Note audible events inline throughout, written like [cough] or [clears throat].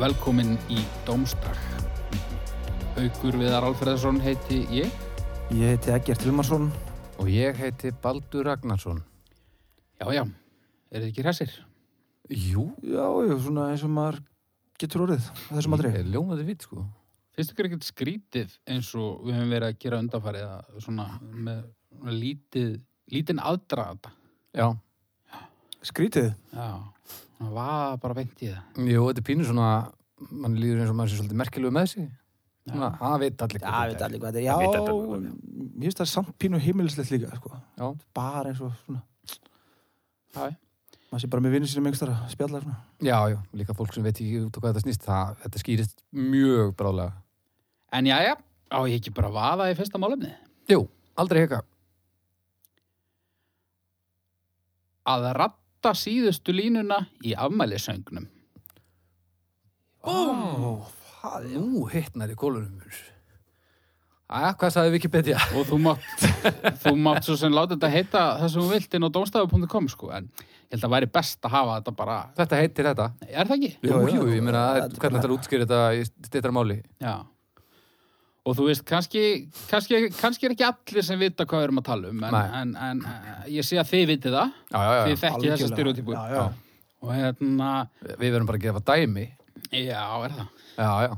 Velkomin í Dómstak. Haugur Viðar Alfreðsson heiti ég Ég heiti Egert Vilmarsson. Og ég heiti Baldur Ragnarsson. Já, já, eru þið ekki hressir? Jú, Já, já, svona eins og maður getur orðið að þessum aldrei. er ljómaði vitt, sko. Finnst ykkur ekkert skrítið eins og við höfum verið að gera undanfarið að svona með svona lítið, lítinn aðdraðata. Já. Skrítið. Já, svona vaða bara beint í það. Jú, þetta er pínu svona, mann líður eins og maður sé svolítið merkilegu með sig. Já. Svona, Það veit allir Já, við veit allir hvað þetta er. Það vita allir Já, hvað þetta ég veist það er samt pínu heimilislegt líka, sko. Já. Bara eins og svona, Já, maður sé bara með vinnir sínum einhvers þar að spjalla svona. Já, já, líka fólk sem veit ekki út á hvað þetta snýst, það, þetta skýrist mjög brálega. en já, já, á ég ekki bara að vaða í fyrsta málefni. Jú, aldrei heka. Að ratta síðustu línuna í afmælisöngnum. Búm! Nú, hittnar í kólunum. Æja, hvað sagði Wikipedia? [laughs] og þú mátt, þú mátt svo sem láta þetta heita það sem þú vilt inn á domstafu.com sko, en ég held að væri best að hafa þetta bara, Þetta heitir þetta. er það ekki? Jú, Já, já, jú, ég meina, þetta er hvernig þetta bara- er útskýrið þetta í stittra máli? Já. Og þú veist, kannski, kannski, kannski er ekki allir sem vita hvað við erum að tala um, en, Nei. en, en eh, ég sé að þið vitið það, Já, já, já. þið þekkið þessa Algjörlega. styrjótypu. Já, já. Og hérna, Við verum bara að gefa dæmi. já, er það. Já, já,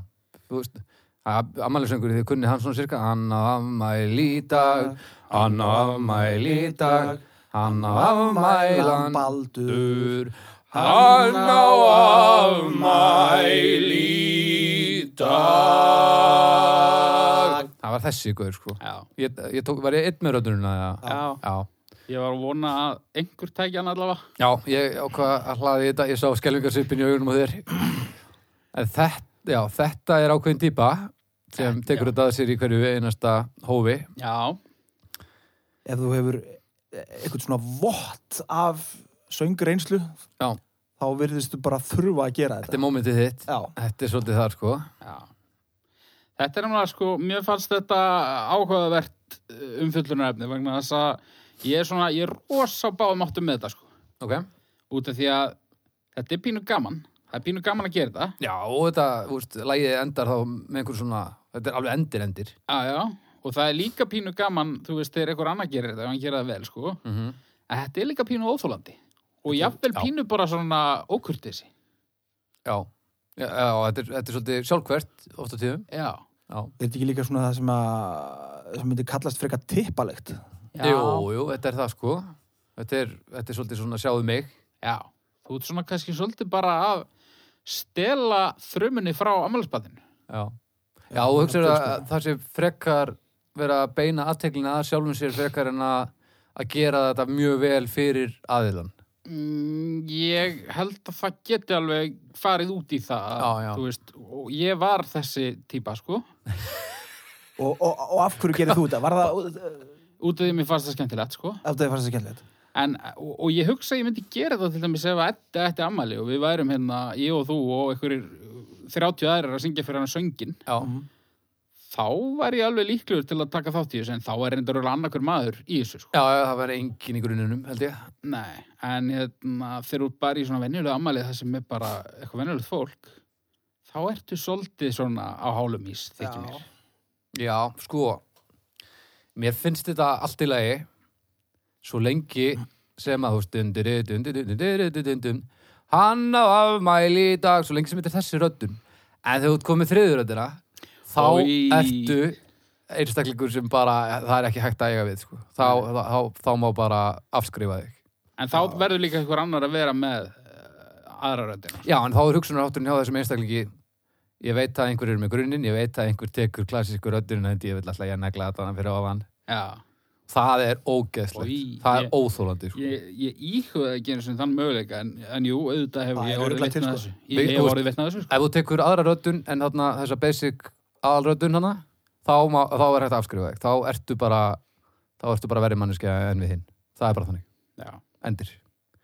þú veist Amælisöngur, þið kunni hann svona cirka Hann á afmæli í dag Hann á afmæli í dag Hann á afmælan Baldur. Hann á afmæli í dag Það var þessi gaur, sko Já. Ég, ég tók, var ég einn með röddununa? Já. Já. Já, Ég var að vona að einhver tækja hann allavega. já, ég ákvað að hlaði þetta Ég sá skelfingarsvipin í augunum á þér En þetta, já, þetta er ákveðin típa sem tekur þetta að sér í hverju einasta hófi Já, Ef þú hefur eitthvað svona vott af söngreinslu, Já. þá virðist þú bara þurfa að gera Þetta þetta. er mómentið þitt. Já. Þetta er svolítið þar, sko. Já. Þetta er náttúrulega sko, mér fannst þetta áhugavert umfyllunarefni vegna þess að ég er svona, ég er rosa á báðum áttum með þetta sko. Ok. Út af því að þetta er pínu gaman, það er pínu gaman að gera þetta. Já, og þetta, þú veist, lægið endar þá með einhver svona, þetta er alveg endir endir. Já, já, og það er líka pínu gaman, þú veist, þegar einhver annar gerir þetta, ef hann gerir það vel sko. Mm -hmm. En þetta er líka pínu óþólandi og jafnvel já. pínu bara svona ókurtisi. Já. Já, já þetta, er, þetta er svolítið sjálfkvært, oft á tíðum. Já. Já. Er þetta ekki líka svona það sem að, sem myndi kallast frekar tippalegt? Já. Jú, jú, þetta er það, sko. Þetta er, þetta er svolítið svona sjáðu mig. Já. Þú ert svona kannski svolítið bara að stela þrumunni frá ammælisbadinu. Já. Já, og hugsaðu það að, er að það sé frekar vera að beina afteklina að sjálfum sér frekar en að, að gera þetta mjög vel fyrir aðilann. Mm, ég held að það geti alveg farið út í það Já, já. þú veist, og ég var þessi típa sko, Og, og, og af hverju gerir þú þetta? Var það, út af því að mér fannst það skemmtilegt sko, ef það fannst það skemmtilegt? en, og, og ég hugsa að ég myndi gera það til dæmis ef að þetta eftir ammæli og við værum hérna, ég og þú og einhverjir 30 aðrir að syngja fyrir hann söngin Já. þá var ég alveg líklegur til að taka þátt í þessu en þá er reyndar alveg annarkur maður í þessu sko. Já, já, það verður engin í gruninum, held ég. nei, en hérna, þegar þú ert bara í svona venjulega ammæli það sem er bara eitthvað venjulegt fólk þá ertu svolítið svona á hálum ís, þykir mér Já, sko Mér finnst þetta allt í lagi Svo lengi sem að þú stundir dundurudundurudundurudundum Hann á afmæli í dag Svo lengi sem þetta er þessi röddum En þegar þú ert komið þriður röddina Þá Oj. ertu einstaklingur sem bara Það er ekki hægt að eiga við sko. þá, þá, þá, þá má bara afskrifa þig En þá verður líka einhver annar að vera með uh, aðra röndina. Já, en þá er hugsunarhátturinn hjá þessum einstaklingi Ég veit að einhver er með grunin Ég veit að einhver tekur klassísku röddurinn En ég vil alltaf ég negla þetta fyrir ofan Já. Það er ógeðslegt, Oj, það er ég- óþólandi sko. Ég, ég íhugaði ekki einu sinni þann möguleika, en, en jú, auðvitað hef Það ég orðið er örugglega til, vitnað sko. þessu. Ég Við- hef þú- orðið vitnað þessu, sko. Ef þú tekur aðra röddun en þarna þessa basic aðalröddun hana þá, má, þá er hægt að afskrifa þig þá ertu bara, þá ertu bara verið manneskja en við hinn, það er bara þannig Já. endir,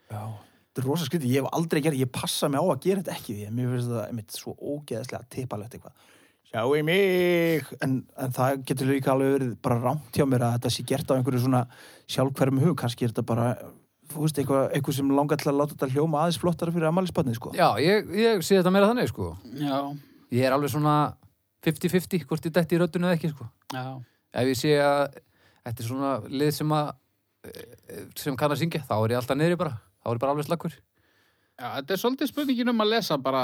Já. Þetta er rosa skrítið, ég hef aldrei gerð, ég passa mig á að gera þetta ekki því, en mér finnst það einmitt svo ógeðslega tippalegt eitthvað. Sjáu mig! En, en það getur líka alveg verið bara rámt hjá mér að þetta sé gert á einhverju svona sjálfhverfum hug, kannski er þetta bara þú veist, eitthvað, eitthvað sem langar til að láta þetta hljóma aðeins flottara fyrir amalisbarnið, sko. Já, ég, ég sé þetta meira þannig, sko. já, Ég er alveg svona 50-50, hvort ég detti í röddunni eða ekki, sko. já, Ef ég sé að þetta er svona lið sem að eh, sem kann að syngja, þá er ég alltaf niðri bara. Þá er ég bara alveg slakkur. já, þetta er svolítið spurningin um að lesa bara,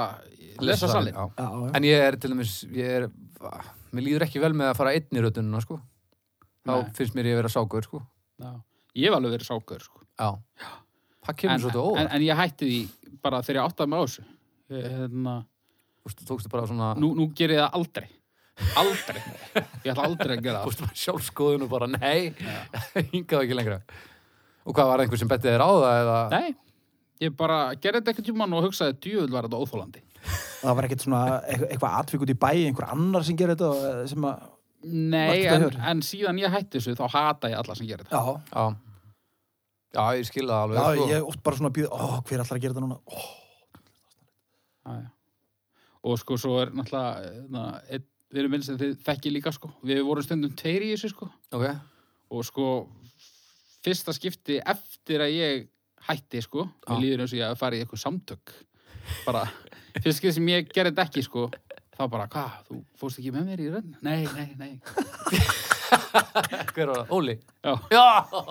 lesa salin. Já. Já, já. En ég er til dæmis, ég er, ah, mér líður ekki vel með að fara einn í röddununa, sko. Þá Nei. finnst mér ég vera sákur, sko. Já. Ég hef alveg verið sákur, sko. Já. Það kemur en, svolítið en, óvart. en ég hætti því bara þegar ég áttaði mig á þessu. Ég- Hérna, Þú veist, tókstu bara svona, [laughs] nú, nú ger ég það aldrei. Aldrei. Ég ætla aldrei að gera þú það. veist bara sjálfskoðun og bara, nei, [laughs] hingað ekki lengra. Og hvað var einhver sem bettið þér á það eða? Nei, ég bara gerði þetta ekkert tjúman og hugsaði djúvel var þetta óþólandi. Það var ekkert svona eitthvað, eitthvað atvík út í bæ, einhver annar sem gerir þetta og eh, sem að, Nei, Margt að en, höfra. en síðan ég hætti þessu þá hata ég alla sem gera þetta. já, Já. Já, ég skil það alveg, já, sko. ég oft bara svona býð, ó, hver allar að gera þetta núna? Ó, Já, já. Og sko, svo er náttúrulega, na, ein, við erum minn sem þið þekki líka, sko. Við vorum stundum tveir í þessu, sko. Ok, Og sko, fyrsta skipti eftir að ég hætti, sko, Já. mér líður eins og ég að fara í eitthvað samtök. Bara, fyrst skipti sem ég gerði þetta ekki, sko, þá bara, hvað, þú fórst ekki með mér í rönn? Nei, nei, nei. hver var það? Óli? Já. Já, [laughs]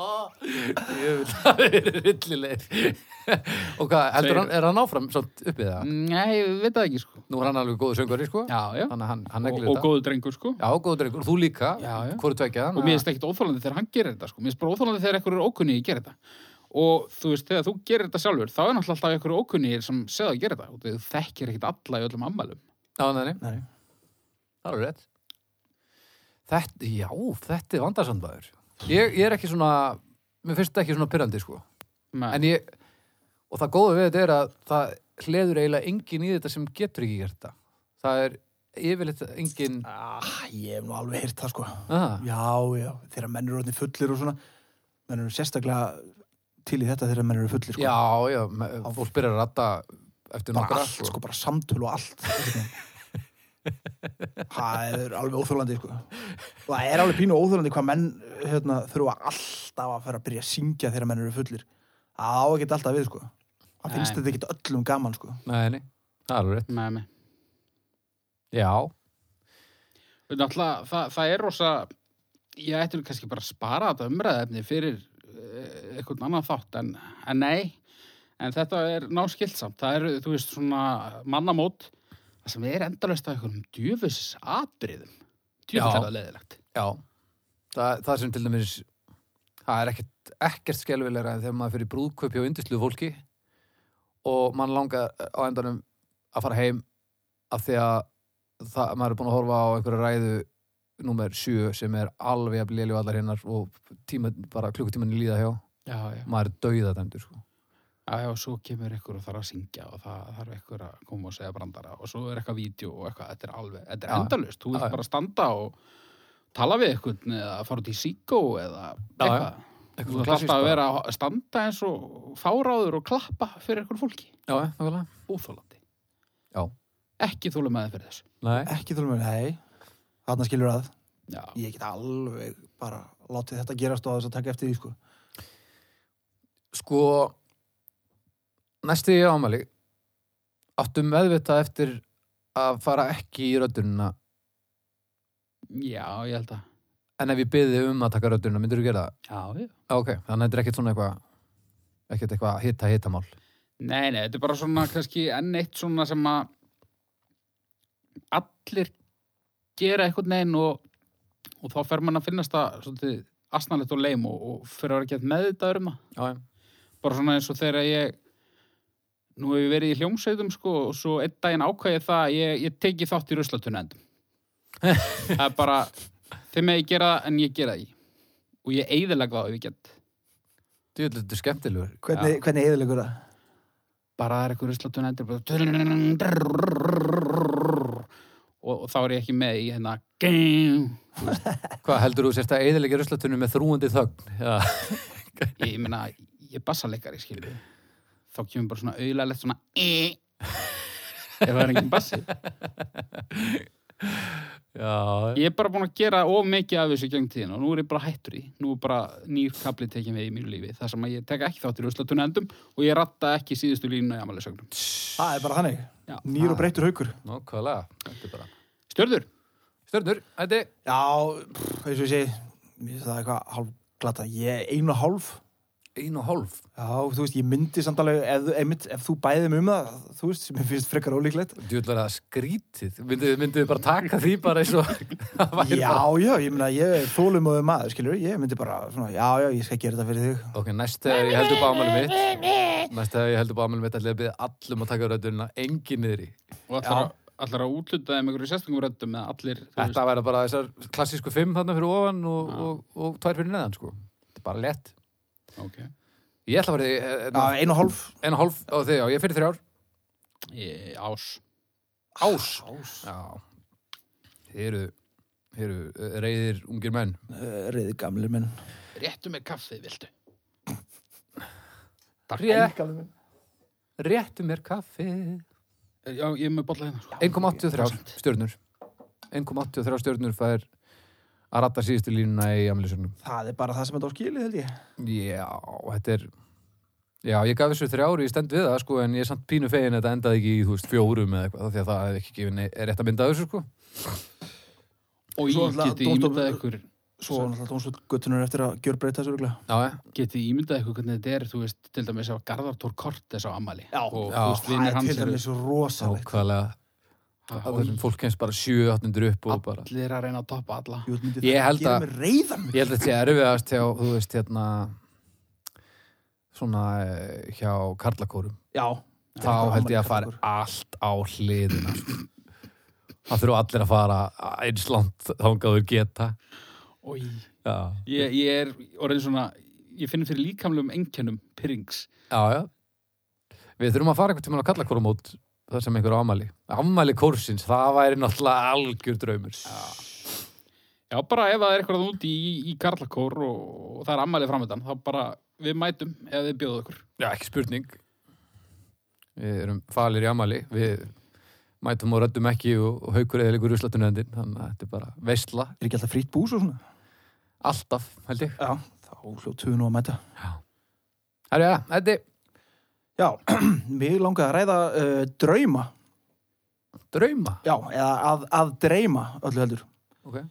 ég vil það verið rillilegir. [laughs] og hvað, heldur hann, er hann áfram samt uppið það? Nei, við veit það ekki, sko. Nú er hann alveg góðu söngari, sko. Já, já. Þannig að hann, hann Og, neglir og þetta. góðu drengur, sko. Já, góður drengur, þú líka, Já, já. hvort tvekja og mér finnst ekkert óþólandi þegar hann gerir þetta sko. mér finnst bara óþólandi þegar ekkur er ókunni að gera þetta og þú veist, þegar þú gerir þetta sjálfur þá er náttúrulega alltaf ekkur ókunni sem segða að gera þetta og þú þekkir ekkert alla í öllum ammælum Já, nei, nei, nei, það er rétt. Þetta, já, þetta er vandarsandvæður. Ég, ég er ekki svona, mér finnst þetta ekki svona pyrrandi, sko. En ég, og það góða við þetta er að það hleður eiginlega enginn í þetta sem getur ekki gert þetta. Það er yfirleitt enginn, ah, ég hef nú alveg heyrt það, sko. að, Já, já, þegar menn eru orðin fullir og svona, menn eru sérstaklega til í þetta þegar menn eru fullir, sko. já, já, me- fólk byrjar að ratta eftir bara nokkra, allt, sko, bara samtöl og allt. það er alveg óþólandi, sko. Og það er alveg pínu óþólandi hvað menn hérna, þurfa alltaf að fara að byrja að syngja þegar menn eru fullir. Það á ekkert alltaf við, sko. Það finnst Nei. þetta ekkert öllum gaman, sko. Nei, nei, það er alveg rétt. með mig Já, náttúrulega, það, það er rosa ég ætti nú kannski bara að spara þetta umræðefni fyrir eh, einhvern annan þátt en, en nei en þetta er náskildsamt það eru, þú veist, svona mannamót það sem er endalaust af einhverjum djöfus atriðum djöfus Já. er það leðilegt já, það, það sem til dæmis, það er ekkert, ekkert skelfilegra en þegar maður fyrir brúðkaupi og yndislu fólki og mann langar eh, á endanum að fara heim af því að það, maður er búin að horfa á einhverja ræðu númer 7 sem er alveg að blíða allar hinnar og tíma, bara klukkutímanni líða hjá já, já. maður er dauðadæmdur sko. Já, já, og svo kemur ykkur og þarf að syngja og það þarf ykkur að koma og segja brandara og svo er eitthvað vídeo og eitthvað, þetta er alveg, þetta er Já, endalust, þú já, vilt já. bara standa og tala við ykkur eða fara út í síkó eða eitthvað. Eitthvað Þú svona þarf alltaf klassískt að vera að standa eins og fáráður og klappa fyrir ykkur fólki, Já, já, nákvæmlega. úþólandi. Já. Ekki þúlum aðeins fyrir þessu. Nei. Ekki þurfum við, hei, þarna skilur að. Já, Ég get alveg bara látið þetta gerast og að þess að taka eftir því, sko. Sko, næsti ég á ámæli, áttu meðvitað eftir að fara ekki í röddunina, já, ég held að. en ef ég byði um að taka röddunina, myndir þú gera það? Já, já. Já, Ok, þannig að þetta er ekkert svona eitthvað, ekkert eitthvað hitta hitta mál. Nei, nei, þetta er bara svona kannski enn eitt svona sem að allir gera eitthvað neginn og, og þá fer mann að finnast það svolítið asnalegt og leim og, og fyrir að vera gett meðvitaður um það. Já, já. Bara svona eins og þegar ég nú hef ég verið í hljómsveitum sko og svo einn daginn ákvæði það að ég, ég teki þátt í ruslatunendum. það er bara þeim að ég gera það en ég gera það í og ég eigðilega það ef ég get. Þú veit, þetta er skemmtilegur. Hvernig, hvernig eðilegur það? bara það er eitthvað ruslátun endur bara og, og þá er ég ekki með í hérna ég, Hvað heldur þú sérst að eiðilegja ruslatunum með þrúandi þögn? Já, ég meina, ég er bassaleikari skilur þá kemur bara svona "Eh." auðlæðilegt svona e ef það er engin bassi já, Ég er bara búin að gera of mikið af þessu gegn tíðin og nú er ég bara hættur í. Nú er bara nýr kapli tekin við í mínu lífi. þar sem að ég tek ekki þátt í ruslatunni endum og ég ratta ekki síðustu línu í amalisögnum. Það er bara þannig. Já. Nýr og breyttur haukur. nákvæmlega Þetta er bara Stjörður, Stjörnur, þetta er Já, pff, eins og ég segi, mér finnst það eitthvað hálf glata. Ég er einu og hálf. einu og hálf Já, þú veist, ég myndi samt alveg, ef, ef, ef þú bæðið mig um það, þú veist, sem ég finnst frekar ólíklegt. Djúðlega það skrítið Mynduðu myndu bara taka því bara eins og það [laughs] væri Já, bara- já, ég meina, ég er þólum og maður, skilur, ég myndi bara, svona, já, já, ég skal gera þetta fyrir þig. Ok, næst þegar ég heldur bámælum mitt Næst þegar ég heldur bámælum mitt ætla ég að byrja allum að taka röddunina engin niður í og ætlar, að- ætlar að útluta þeim einhverju sérstöngum röddum með allir, þú veist, Þetta verða bara þessar klassísku fimm þarna fyrir ofan og, og, og tvær fyrir neðan sko Þetta er bara lett ok. Ég ætla að vera Já, einu og hálf. því en eh, hálf á því, já, ég er fyrir þrjár Ég, ás. Ás Já Þið eru, þið eru reyðir ungir menn Uh, Reyði gamli minn. Réttu með kaffið, viltu? Rétt, gamli minn. réttu mér kaffi Já, ég er með bolla hérna. sko. 1,83 stjörnur 1,83 stjörnur fær að ratta síðustu línuna í amlisjónum Það er bara það sem þetta á skilið, held ég. Já, þetta er Já, ég gaf þessu þrjári í stend við það sko en ég er samt pínu fegin að þetta endaði ekki í þú veist fjórum eða eitthvað af því að það hefði ekki gefin rétt að mynda þessu sko Og Svo ég ætla- geti dóttor- ímyndað ykkur, Svo var náttúrulega tónsvöldgötunar eftir að gjör breyta þessu röglega. Já, eh? geti ímyndað ykkur hvernig þetta er, þú veist, til dæmis á Garðartór Kortes á Amali. Já. og, Já. þú veist, Það vinnir er hans til eru dæmis svo rosalegt. nákvæmlega Ha, Það og er sem fólk kemst bara 7-800 upp og bara allir að reyna að toppa alla. Jú, myndi Ég það held gera að- mig reiðan. Ég held að þetta sé erfiðast hjá, þú veist, hérna svona eh, hjá karlakórum Já. þá held ég að fara allt á hliðina sko. það þurfa allir að fara eins langt þangaður geta Ói. já, Ég, ég er orðin svona, ég finn fyrir líkamlegum einkennum pyrrings. já, já við þurfum að fara einhvern tímann á karlakórum út þar sem einhver á afmæli afmæli kórsins, það væri náttúrulega algjör draumur Já, bara ef það er eitthvað úti í, í Garðarkór og, og það er Amali framöndan, þá bara við mætum ef þið bjóðu ykkur. já, ekki spurning við erum falir í afmæli við mætum og röddum ekki og, og haukur eða líkur ruslatunöndin þannig að þetta er bara veistla Er ekki alltaf frýtt bús og svona? alltaf, held ég Já. Þá hljóttu nú að mæta. Herra, ja, þetta er Já, [clears throat] mig langaði að ræða uh, drauma. drauma Já, eða að, að dreyma öllu heldur. okay.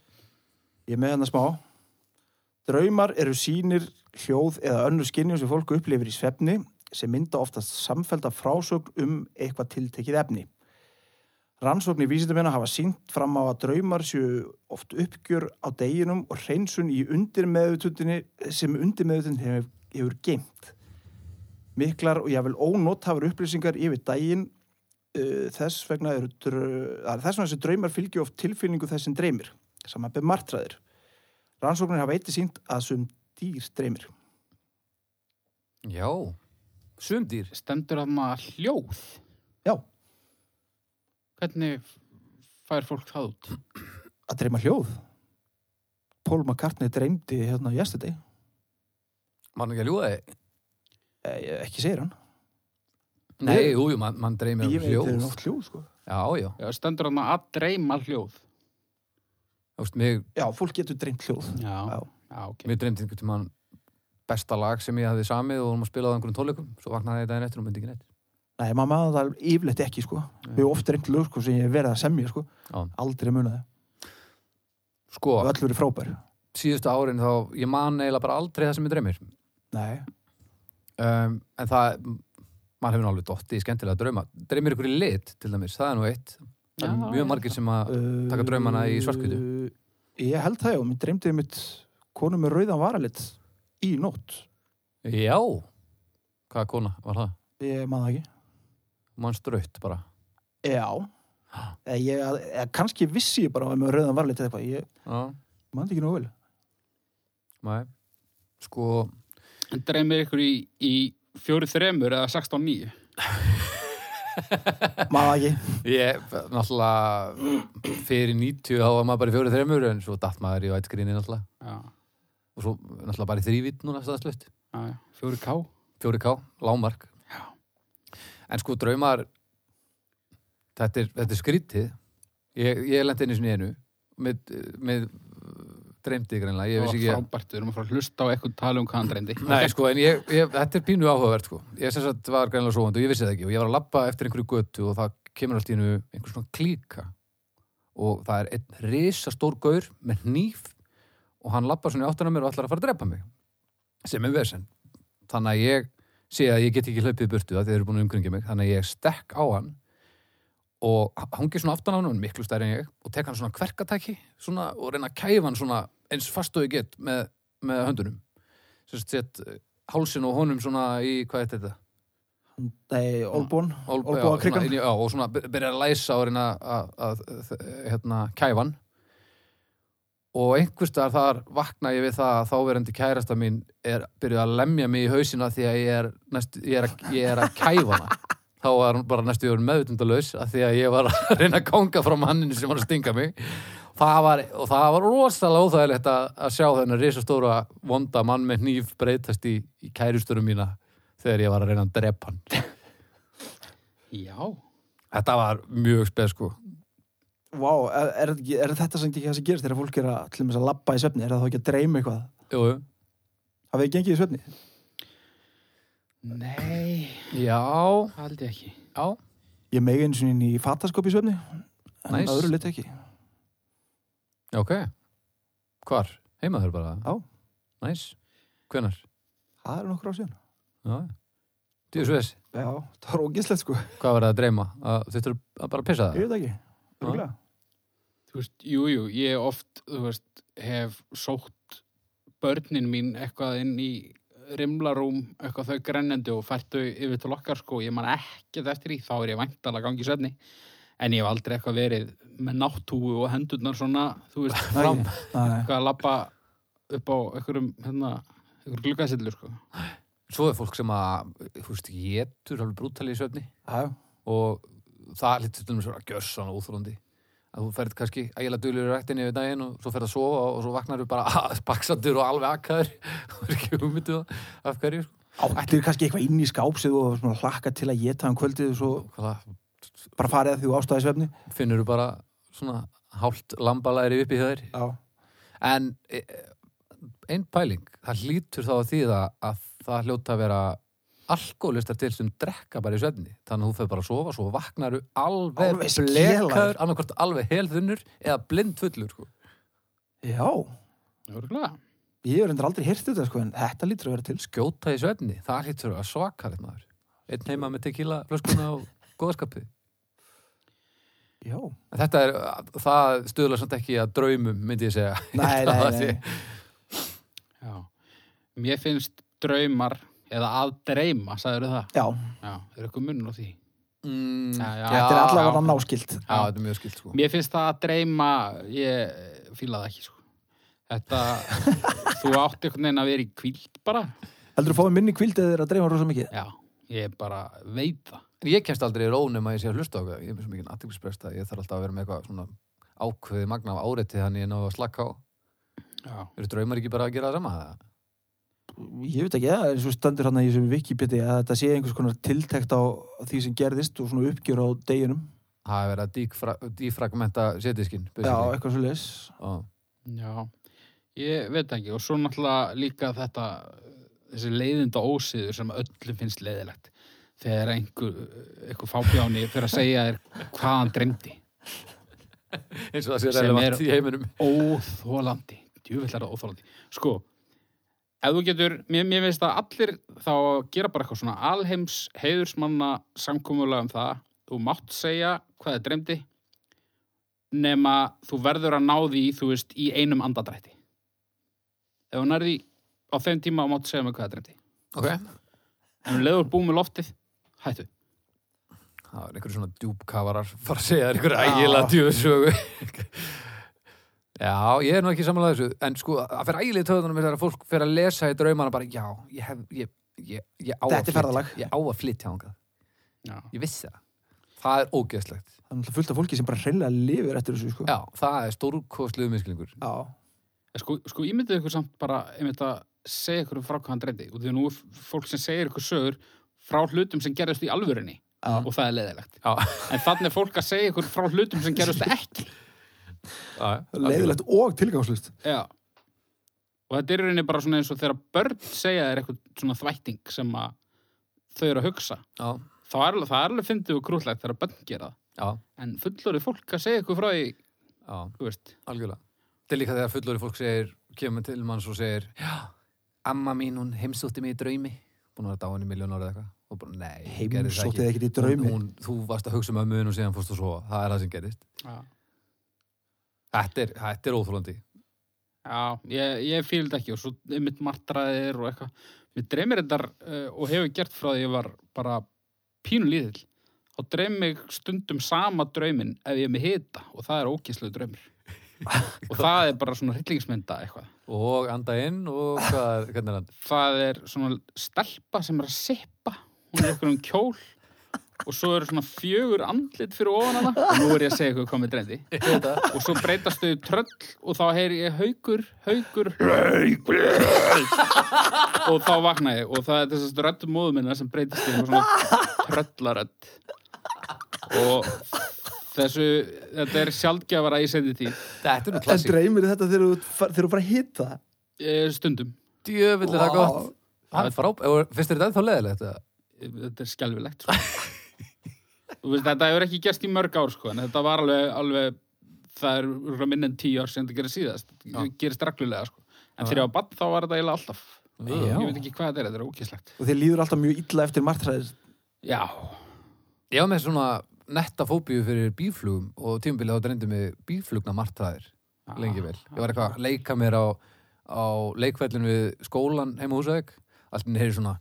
Ég er með hérna smá. Draumar eru sínir hljóð eða önnur skinnjum sem fólk upplifir í svefni sem mynda oftast samfelda frásögn um eitthvað tiltekið efni. Rannsóknir vísindumenna hafa sínt fram á að draumar séu oft uppgjör á deginum og hreinsun í undirmeðutundinni sem undirmeðutundin hefur, hefur geimt. Miklar og jáfnvel ónótafur upplýsingar yfir daginn uh, þess vegna eru dr- að þess vegna þessi draumar fylgju oft tilfinningu þess sem dreymir saman beð martraðir. Rannsóknir hafa eitthi sínt að sum dýr dreymir. já, sumdýr Stendur þarna hljóð. Já, Hvernig f- fær fólk það út? að dreyma hljóð. Paul McCartney dreymdi hérna yesterday. mann ekki að ljúga þig Eh, ekki segir hann. nei, jú, jú, mann man dreymir um Ég veit hljóð þeir oft hljóð, sko. já, já, Já, stendur þarna að dreyma hljóð. þú veist, mig, Já, fólk getur dreymt hljóð. Já. Já. Já, ok. mig dreymdi einhvern tímann besta lag sem ég hafði samið og vorum að spila á einhverjum tólikum svo vaknaði ég daginn eftir og myndi ekki neitt Nei, maður maður það yfirleitt ekki, sko. Við erum oft dreymt hljóð, sko, sem ég hef verið að semja, sko. Já. Aldrei munið það. sko, Og öll verið frábær. síðustu árin þá ég man eiginlega bara aldrei það sem ég dreymir Nei. um, en það maður hefur nú alveg dotti í skemmtilega drauma dreymir ykkur í lit til dæmis, það er nú eitt það er Já, mjög margir sem að Uh, Taka draumana í svarthvítu. Eh, Ég held það, já. Mér dreymdi mitt konu með rauðan varalit í nótt. já, hvaða kona var það Ég maður það ekki. mann ströytt bara Já, Ha. eða, Eh, ég, eða kannski vissi ég bara að með rauðan varlit eða eitthvað, ég já, mann ekki nógu vel. nei sko, En dreymir ykkur í, í fjóri þremur eða 16-9. Maður ekki, ég náttúrulega fyrir 90 þá var maður bara í fjóri þreymur en svo datt maður í vætskrinni náttúrulega Já, og svo náttúrulega bara í þrývít núna staðslögt já, já. Fjóri ká. 4K, lámark en sko draumar þetta er, þetta er skrítið ég, ég lendi inn í sinni einu með, með dreymdi greinlega, ég Það vissi var ekki að frábært, við erum að fara að hlusta á eitthvað tala um hvað hann dreymdi. Nei, sko, en ég, ég, þetta er pínu áhugavert, sko. Ég sem sagt var greinlega svoandi og ég vissi það ekki og ég var að labba eftir einhverju götu og það kemur allt í hennu einhver svona klíka og það er einn risastór gaur með hníf og hann labbar svona í áttuna mér og ætlar að fara að drepa mig sem er vesen. Þannig að ég sé að ég get ekki hlaupið í burtu það þeir eru búin að umgringja mig, þannig að ég stekk á hann og h- hangi svona aftan á hann, hann er miklu stærri en ég og tek hann svona kverkatæki svona, og reyna að kæfa hann svona eins fast og ég get með, með höndunum sem sagt, sett hálsin og honum svona í, hvað er þetta? Nei, Olbón, Ol- já, Olbóa svona krigan inn í- Já, og svona by- byrja að læsa og reyna að, að, að hérna, kæfan og einhverstaðar þar vakna ég við það að þáverandi kærasta mín er byrjuð að lemja mig í hausina því að ég er, næst, ég er, að, ég er að kæfa hana þá var hún bara næstu yfir meðutundalaus að því að ég var að [laughs] reyna að ganga frá manninu sem var að stinga mig það var, og það var rosalega óþægilegt að, að sjá þennan risastóra vonda mann með hníf breytast í, í kærusturum mína þegar ég var að reyna að drepa hann Já, Þetta var mjög spes sko Vá, er, er, þetta ekki- er þetta sem ekki það sem gerist þegar fólk er að, til þess að labba í svefni, er það þá ekki að dreyma eitthvað? Jú, jú. Hafið þið gengið í svefni? nei, Já, það held ég ekki. já Ég megi eins og inn í fataskop í svefni, en Næs. nice. öðru lit ekki. Já, Ok Hvar? Heimaður bara? Já. Næs Hvenær? Það er nokkur á síðan. Já Djú svo þess Já, það var ógislegt sko. Hvað var það að dreyma? Að Þau þurfum að bara pissa Ég það? veit það ekki. Örugglega. Þú veist, jú, jú, ég oft, þú veist, hef sótt börnin mín eitthvað inn í rimlarúm, eitthvað þau grennandi og fært þau yfir til okkar, sko, ég man ekkert eftir því, þá er ég væntalega gangi í svefni. En ég hef aldrei eitthvað verið með náttúu og hendurnar svona, þú veist, fram, Nei, Nei. eitthvað að labba upp á einhverjum, hérna, einhverjum gluggasillu, sko. Svo er fólk sem að, þú veist, getur alveg brútali í svefni Já, og það lítur til dæmis að vera gjössan og úþrólandi að þú ferð kannski ægilega duglur í rættinni yfir daginn og svo ferð að sofa og svo vaknar þú bara [laughs] baksandur og alveg akkaður [laughs] og er ekki ummyndu af hverju sko. Ætlir kannski eitthvað inn í skápsið og svona hlakka til að geta um kvöldið og svo Hvað það bara farið að því ástæði svefni. finnur þú bara svona hálft lambalæri uppi hjá þér Já. en e, einn pæling, það hlýtur þá að þýða að það hljóta að vera alkoholistar til sem drekka bara í svefni þannig að þú fyrir bara að sofa, svo vaknar þú alveg Alveg skelaður. blekaður, annarkvort alveg helðunnur eða blind fullur sko. Já, Örgulega. ég hefur endur aldrei hirt þetta sko, en þetta lítur að vera til. sko. skjóta í svefni, það hlýtur að svaka þetta maður, einn heima með tequila flöskuna og góðskapi Já. En þetta er, það stuðlar samt ekki að draumum, myndi ég segja Nei, nei, Það nei. sé- Já. Mér finnst draumar, eða að dreyma, sagður það. Já, Já, er eitthvað munn á því. mm, Já, já. þetta er allavega já. náskilt. Já, þetta er mjög skilt sko Mér finnst það að dreyma, ég fíla það ekki, sko. Þetta, þú átti einhvern veginn að vera í kvíld bara. Heldur þú fáið minni kvildið þeirra að dreifa rosa mikið? Já, ég bara veit það. En ég kemst aldrei í rónum að ég sé að hlusta á hvað. Ég er með svo mikið aðtöklisbrest að ég þarf alltaf að vera með eitthvað svona ákveðið magna af áreiti þannig ég ná að slakka á. Já. Eru draumar ekki bara að gera það sama? eða? Ég veit ekki, það er svo stendur hann í þessum Wikipedia að þetta sé einhvers konar tiltekt á því sem gerðist og svona uppgjör á deginum. Það er verið að dífra, dífragmenta setjiskin. Já, eitthvað svo leis. Já, ég veit það ekki. Og svo náttúrulega líka þetta, þessi leiðinda ósiður sem öllum finnst leiðilegt. Þegar einhver, einhver fábjáni fyrir að segja þér hvað hann dreymdi. eins og það sé Sem relevant er- í heiminum. óþólandi djúvill er það óþólandi sko, ef þú getur mér, mér finnst að allir þá gera bara eitthvað svona alheims heiðursmanna samkomulega um það þú mátt segja hvað þið dreymdi nema þú verður að ná því þú veist í einum andadrætti ef þú nærði á þeim tíma og mátt segja mig hvað þið dreymdi Ok. en um leiður búið með loftið hættu Það er einhverju svona djúbkafarar fara að segja þér einhverju Já. ægilega djúfisögu. [laughs] Já, ég er nú ekki samanlega þessu, en sko, það fer ægilega töðunum þegar fólk fer að lesa í draumana bara, já, ég hef, ég, ég, ég á Þetta að er flytja, ferðalag. ég á að flytja hangað. Já. Ég vissi það. Það er ógeðslegt. Það er náttúrulega fullt af fólki sem bara hreinlega lifir eftir þessu, sko. Já, það er stórkostluðu misklingur. Já. En Sko, sko ímyndið ykkur samt bara einmitt að segja ykkur um frá hvað hann dreymdi og því að nú er f- fólk sem segir ykkur sögur frá hlutum sem gerðust í alvörunni Já. og það er leðilegt Já. en þannig er fólk að segja ykkur frá hlutum sem gerðust ekki leiðilegt leiðilegt og tilgangslust Já. Og þetta er í rauninni bara svona eins og þegar börn segja þér eitthvað svona þvætting sem að þau eru að hugsa. já, Þá er, alveg- það er alveg fyndið og krúllegt þegar börn gera það. já, En fullorið fólk að segja eitthvað frá því, já, þú veist. algjörlega þetta er líka þegar fullori fólk segir kemur til manns og segir já, amma mín hún heimsótti mig í draumi búin að vera dáinni milljón árið eitthvað og bara nei, hún gerði það heimsóttið ekkert í Hún- draumi hún, þú varst að hugsa um ömmuðin og síðan fórst að sofa það er það sem gerist Já. þetta er, þetta er óþólandi Já, ég, ég fíl þetta ekki og svo mitt martraðir og eitthvað. Mér dreymir þetta uh, og hefur gert frá því ég var bara pínu líðil. Þá dreym mig stundum sama drauminn ef ég er með hita og það er ókíslega draumur. og það er bara svona hryllingsmynda eitthvað. og anda inn og [laughs] hvað, hvernig er hann Það er svona stelpa sem er að sippa. Hún er eitthvað um kjól og svo eru svona fjögur andlit fyrir ofan hana. Og nú er ég að segja eitthvað hvað mér dreyndi. og svo breytast þau í tröll og þá heyri ég haukur, haukur, og þá vakna ég og það er þessast rödd móðu minna sem breytist í einhver svona tröllarödd og þessu þetta er sjaldgjafara í seinni tíð þetta er nú en klassík dreymir þetta þegar þú fa- þegar þú bara hitta Eh, stundum, djöfull er það Vá. gott það er fráb, Ef- finnst þér þetta þá leðilegt þetta er skelfilegt sko. þú veist þetta hefur ekki gerst í mörg ár sko en þetta var alveg, alveg það er örugglega minna en tíu ár sem þetta gerist síðast Já. það gerist reglulega sko en Já. þegar ég var bann þá var þetta eiginlega alltaf Já. ég veit ekki hvað þetta er, þetta er ókislegt og þeir líður alltaf mjög illa eftir martræðir já, ég var með svona netta fóbíu fyrir bíflugum og tímabilið þá dreyndi mig bíflugna martraðir Ah, lengi vel ég var eitthvað að leika mér á, á leikfællin við skólan heima á húsæk allt minn heyri svona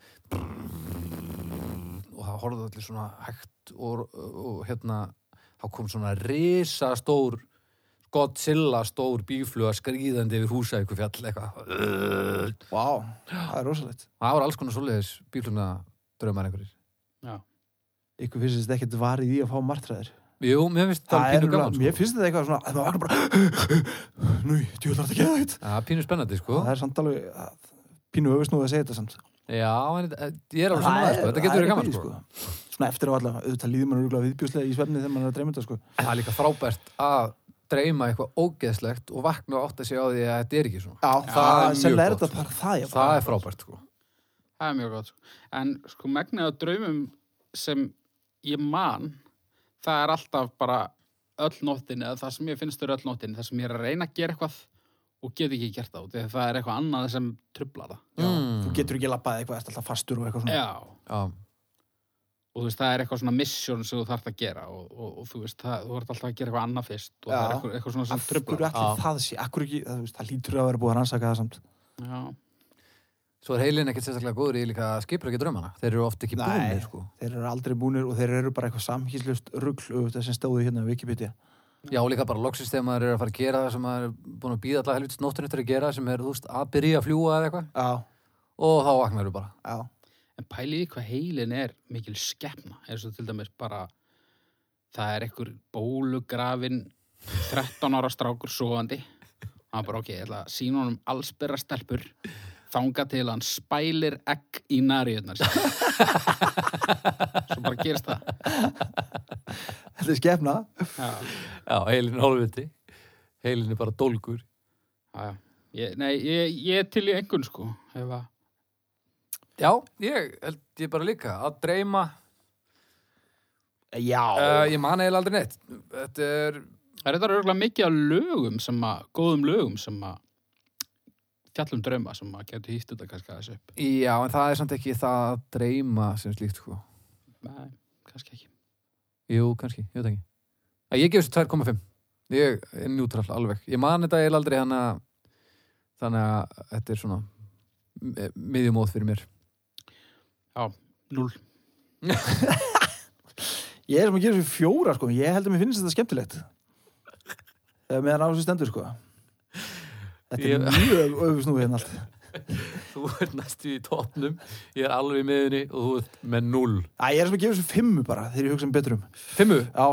og það horfði allir svona hægt og, og hérna þá kom svona risastór Godzilla stór bífluga skrýðandi yfir húsæku fjall eitthvað Vá, það er rosalegt Það var alls konar svoleiðis bílflugna draumar einhverjir. ykkur finnst þetta ekkert varið í að fá martræðir Jú, mér finnst það það er pínu gaman, alveg, sko. mér finnst þetta eitthvað svona að maður vakna bara nú, djú, það er ekki það Það er pínu spennandi, sko. það er samt alveg að- pínu öfust nú að segja þetta samt Já, en þetta- eh, ég er alveg saman, sko. Þetta það er getur verið gaman, eitthvað í, sko. svona eftir á allavega, auðvitað líður mann örgulega viðbjóslega í svefni þegar mann er að dreyma þetta sko En það er líka frábært að dreyma eitthvað ógeðslegt og vakna og átta sig á því að þetta er ekki svona. Já, það er sennilega mjög er gott, sko. þetta bara það, já, Það er frábært, sko. Það er mjög gott. sko. En sko megnið af draumum sem ég man, það er alltaf bara öll nóttin eða það sem ég finnst eru öll nóttin, það sem ég er að reyna að gera eitthvað og get ekki gert það út, því að það er eitthvað annað sem trublar það. Já, Mm. þú getur ekki labbað eitthvað, ert alltaf fastur og eitthvað svona Já, Já, og þú veist, það er eitthvað svona mission sem þú þarft að gera og, og, og þú veist, það, þú ert alltaf að gera eitthvað annað fyrst og það Já. er eitthvað, eitthvað svona sem Af trublar. hverju Já. allir það sé, akkur ekki, það, þú veist, það lítur að vera búið að rannsaka það samt Já, svo er heilin ekkert sérstaklega góður í líka að skipra ekki draumana. Þeir eru ofta ekki Nei. búinir, sko. Þeir eru aldrei búnir og þeir eru bara eitthvað samhýslust rugl auðvitað sem stóðu hérna á Wikipedia Já, og líka bara loksins þegar maður er að fara að gera það sem maður er búin að býða alltaf helvitist nóttunni eftir að gera sem er, þú veist, að byrja að fljúa eða eitthvað Já, og þá vaknar bara. já, en pæliði hvað heilin er mikil skepna, eins og til dæmis bara það er einhver bólugrafin 13 ára strákur sofandi hann bara ok, ég ætla að sína honum allsbyrra stelpur þanga til hann spælir egg í nariðnar svo bara gerist það þetta er skefna já, Já, heilin er hálfviti. Heilin er bara dólgur. já, já. Ég, nei, ég, ég er til í engun sko ef að Já, ég held ég bara líka að dreyma Já, uh, Ég man eiginlega aldrei neitt Þetta er, það er þetta örgulega mikið af lögum sem að, góðum lögum sem að fjallum drauma sem að getur hýtt þetta kannski aðeins upp já, en það er samt ekki það að dreyma sem slíkt sko nei, kannski ekki Jú, kannski, ég veit ekki Æ, Ég gef þessu 2,5 Ég er njútrall alveg Ég man þetta eiginlega aldrei þannig að þannig að þetta er svona mi- miðjumóð fyrir mér null ég er sem að gera þessu fjóra sko, ég held að mér finnst þetta skemmtilegt Þegar meðan á þessu stendur sko Þetta er Ég- mjög öfust nú hérna allt [laughs] Þú ert næstu í topnum Ég er alveg í miðjunni og þú ert með 0 Æ, ég er sem að gefa þessu fimmu bara þegar ég hugsa um betrum Fimmu Já,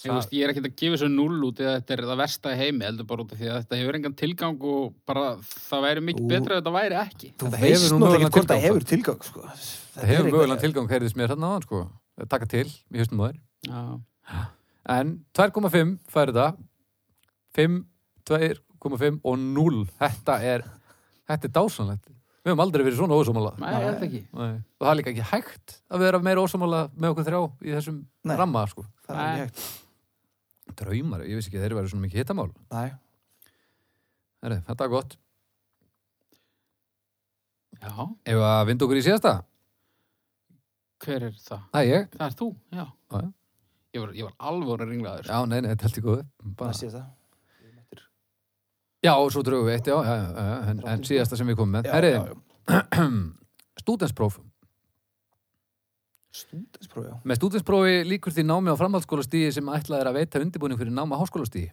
Ég, veist, ég er ekkert að gefa þessu null út eða þetta er það versta í heimi heldur bara út af því að þetta hefur engan tilgang og bara það væri mikið Ú. betra ef þetta væri ekki. þú Þetta veist hefur nú nú ekki mögulegan hvort það tilgang, hefur tilgang sko. Það hefur mögulega tilgang heyrðist mér þarna á hann sko Takka til, ég höstum á þér Já. En 2,5 færi það 5, 2,5 og 0 þetta er, þetta er dásanlegt við höfum aldrei verið svona ósámála Nei, ég held ekki. og það er líka ekki hægt að vera meira ósámála með okkur þrjá í þessum Nei. ramma sko. það er Nei. ekki hægt. draumar, ég vissi ekki að þeir verið svona mikið hittamál Nei. Heri, þetta er gott, Já, ef að vindu okkur í síðasta hver er það? það er ég, Það er þú, já. Já, já. Ég var, ég var alvöru ringlaður. já nei, nei, þetta er allt í góðu Það Bara- sé það. Já, og svo drögum við eitt, já, já, já, já en, en síðasta sem við komum með. Já, Herri, já, já. [clears throat] stúdenspróf. Stúdenspróf, já. Með stúdensprófi líkur því námi á framhaldsskólastíði sem ætlað er að veita undirbúning fyrir náma háskólastíði.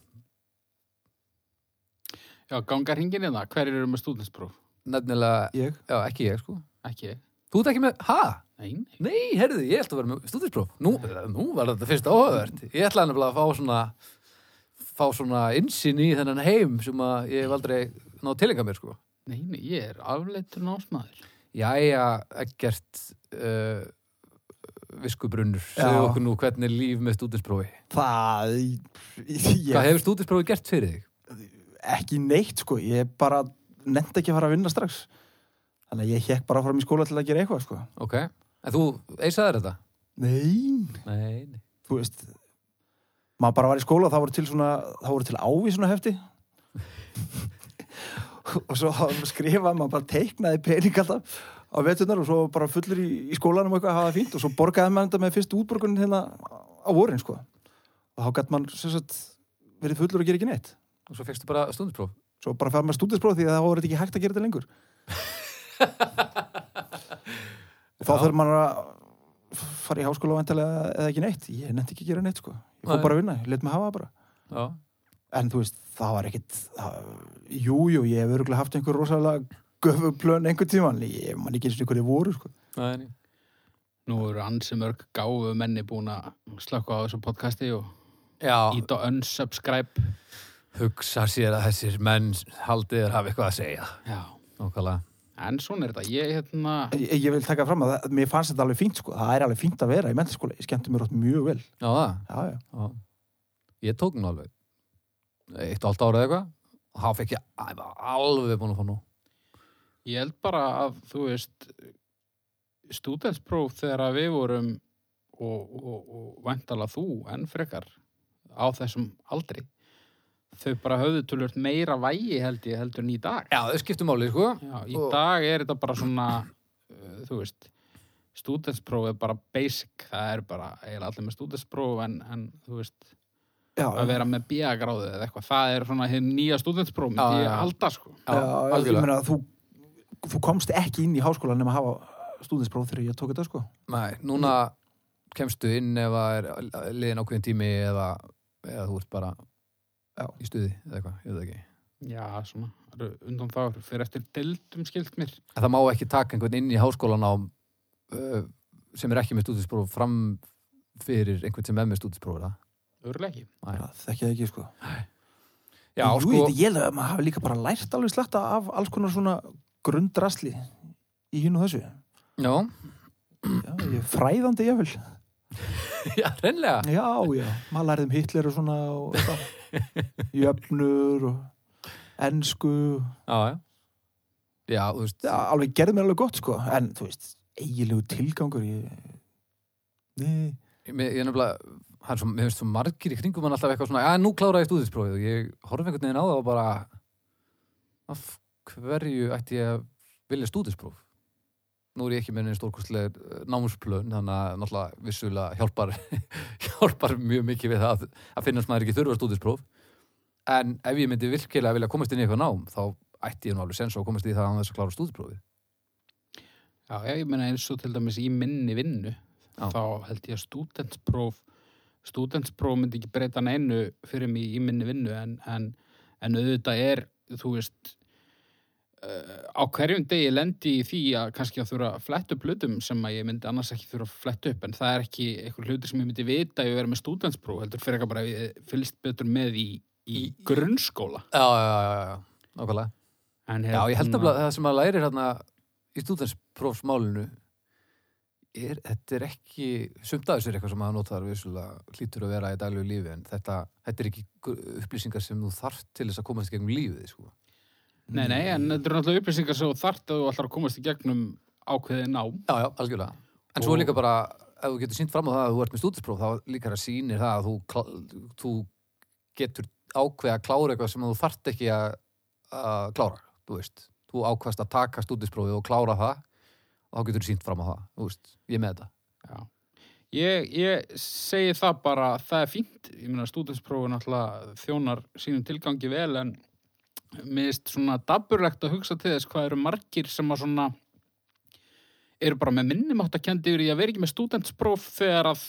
Já, ganga hringin í það. Hver eru með stúdenspróf? Nefnilega, Ég. já, ekki ég, sko. Ekki ég. Þú ert ekki með, ha? Nei, nei. Nei, herriði, ég ætla að vera með stúdenspróf. Nú, nú var þetta fyrst áhugavert. Ég ætlaði nefnilega að fá svona, fá svona insinn í þennan heim sem að ég hef aldrei náð tilenga mér, sko. Nei, nei, ég er afleittur násmaður. Jæja, ekkert uh, viskubrunnur. Já. Segðu okkur nú hvernig er líf með stúdensprófi. Það, ég, Hvað hefur stúdensprófi gert fyrir þig? ekki neitt, sko. Ég bara nefndi ekki að fara að vinna strax. Þannig að ég hekk bara fram í skóla til að gera eitthvað, sko. Ok, en þú eisaðir þetta? Nei, Nei, nei. þú veist, maður bara var í skóla og það voru til svona, það voru til ávísuna hefti. [laughs] og svo skrifaði maður bara teiknaði pening alltaf á veturnar og svo bara fullur í, í skólanum og eitthvað að hafa það fínt og svo borgaði maður þetta með fyrst útborgunin hérna á vorin, sko. Og þá gætt mann, sem sagt, verið fullur og gera ekki neitt. Og svo fegstu bara stundispróf. svo bara fær maður stúdinspróf því að það voru ekki hægt að gera þetta lengur og þá Já. þarf maður að fara í háskóla vantilega eða ekki neitt ég nefndi ekki að gera neitt sko ég fór Nei. bara að vinna, ég let mig hafa það bara Já. en þú veist, það var ekkit jújú, jú, ég hef örgulega haft einhver rosalega göfuplön einhver tíma ég man ekki eins og hverju voru sko Nei, nei. Nú eru ansi mörg gáfu menni búin að slökka á þessu podcasti og Já, íta unsubscribe. hugsa sér að þessir menn haldið er hafa eitthvað að segja. Já. Nókvælega. En svona er þetta. Ég, hérna, ég, ég vil taka fram að það, mér fannst þetta alveg fínt sko það er alveg fínt að vera í mentaskóla, ég skemmti mér ótt mjög vel Já, það. já, já, Já. Ég tók nú alveg. Eitt og allt ára eða eitthvað. Og þá fekk ég ég var alveg búin að fá nú. ég held bara að, þú veist, stúdenspróf þegar að við vorum og, og, og vantala þú en frekar á þessum aldri. Þau bara höfðu tölvöld meira vægi held ég heldur en í dag. Já, þau skiptu máli, sko. Já, í Og- dag er þetta bara svona, uh, þú veist, stúdenspróf er bara basic, það er bara, eiginlega allir með stúdenspróf en, en þú veist, já, að vera með bíagráðu eða eitthvað, það er svona hinn nýja stúdenspróf, Já, myndi já, ég já. halda sko. Já, Já, já, ég algjörlega. meina að þú, þú komst ekki inn í háskólan nema að hafa stúdinspróf þegar ég tók þetta sko. Nei, núna kemstu inn ef að er liðin ákveðin tími eða, eða þú ert bara Já. í stuði eða eitthvað, ég veit það ekki. Já, svona, undan þá, fyrir eftir deildum skilt mér. En það má ekki taka einhvern inn í háskólan á uh, sem er ekki með stúdinspróf fram fyrir einhvern sem er með stúdinspróf það. Örlega ekki. Það þekkja það ekki sko. Já, En jú, sko, þetta ég held að maður hafi líka bara lært alveg slatta af alls konar svona grunddrasli í hinn og þessu. já, Já, ég er fræðandi ég vil. [laughs] já, reynlega. Já, já, maður lærði um Hitler og svona og eitthvað. Jöfnur og ennsku. Já, já. Já, þú veist, Já, alveg gerði mér alveg gott sko. En þú veist, eigilegu tilgangur ég... Nei, ég, ég er nefnilega, það er svo, mér finnst svo margir í kringum hann alltaf eitthvað svona, já, nú klára ég stúdinsprófið og ég horf einhvern veginn á það og bara, af hverju ætti ég að vilja stúdinspróf? Nú er ég ekki með einn stórkostleg eh, námsplön, þannig að náttúrulega vissulega hjálpar, [laughs] hjálpar mjög mikið við það að finnast maður ekki þurfa stúdinspróf. En ef ég myndi virkilega vilja komast inn í eitthvað nám, þá ætti ég nú alveg sens á að komast í það án þess að klára stúdinsprófið. Já, já, ég meina eins og til dæmis í minni vinnu, Já. þá held ég að stúdenspróf, stúdenspróf myndi ekki breyta neinu fyrir mig í minni vinnu, en, en, en auðvitað er, þú veist, uh, á hverjum degi lendi ég í því að kannski að þurfa að fletta upp hlutum sem að ég myndi annars ekki þurfa að fletta upp, en það er ekki einhver hlutur sem ég myndi vita að ég verið með stúdenspróf, heldur fyrir ekki bara að ég fylgst betur með í, í Í- grunnskóla. Já, já, já, já, já, nákvæmlega. En Já, ég held hérna- að það sem maður lærir hérna í stúdensprófsmálinu er, þetta er ekki, sumt af þessu er eitthvað sem maður notar vissulega hlýtur að vera í daglu lífi en þetta, þetta er ekki gu- upplýsingar sem þú þarft til þess að komast í gegnum lífið, sko. Nei, nei, en þetta eru náttúrulega upplýsingar sem þú þart að þú ætlar að komast í gegnum ákveðið nám. Já, já, algjörlega. En svo er líka bara, ef þú getur sínt fram á það að þú ert með stúdispróf, þá líka að sýnir það að þú, klá- þú getur ákveða að klára eitthvað sem þú þarft ekki að, að klára, þú veist. Þú ákveðast að taka stúdisprófið og klára það og þá getur þú sínt fram á það, þú veist. Ég er með þetta. Já. Ég, ég segi það bara, það er fínt, ég meina stúdinsprófin alltaf þjónar sínum tilgangi vel en miðist svona daburlegt að hugsa til þess hvað eru margir sem að svona eru bara með minnumátt að kendi yfir í að vera ekki með stúdentspróf þegar að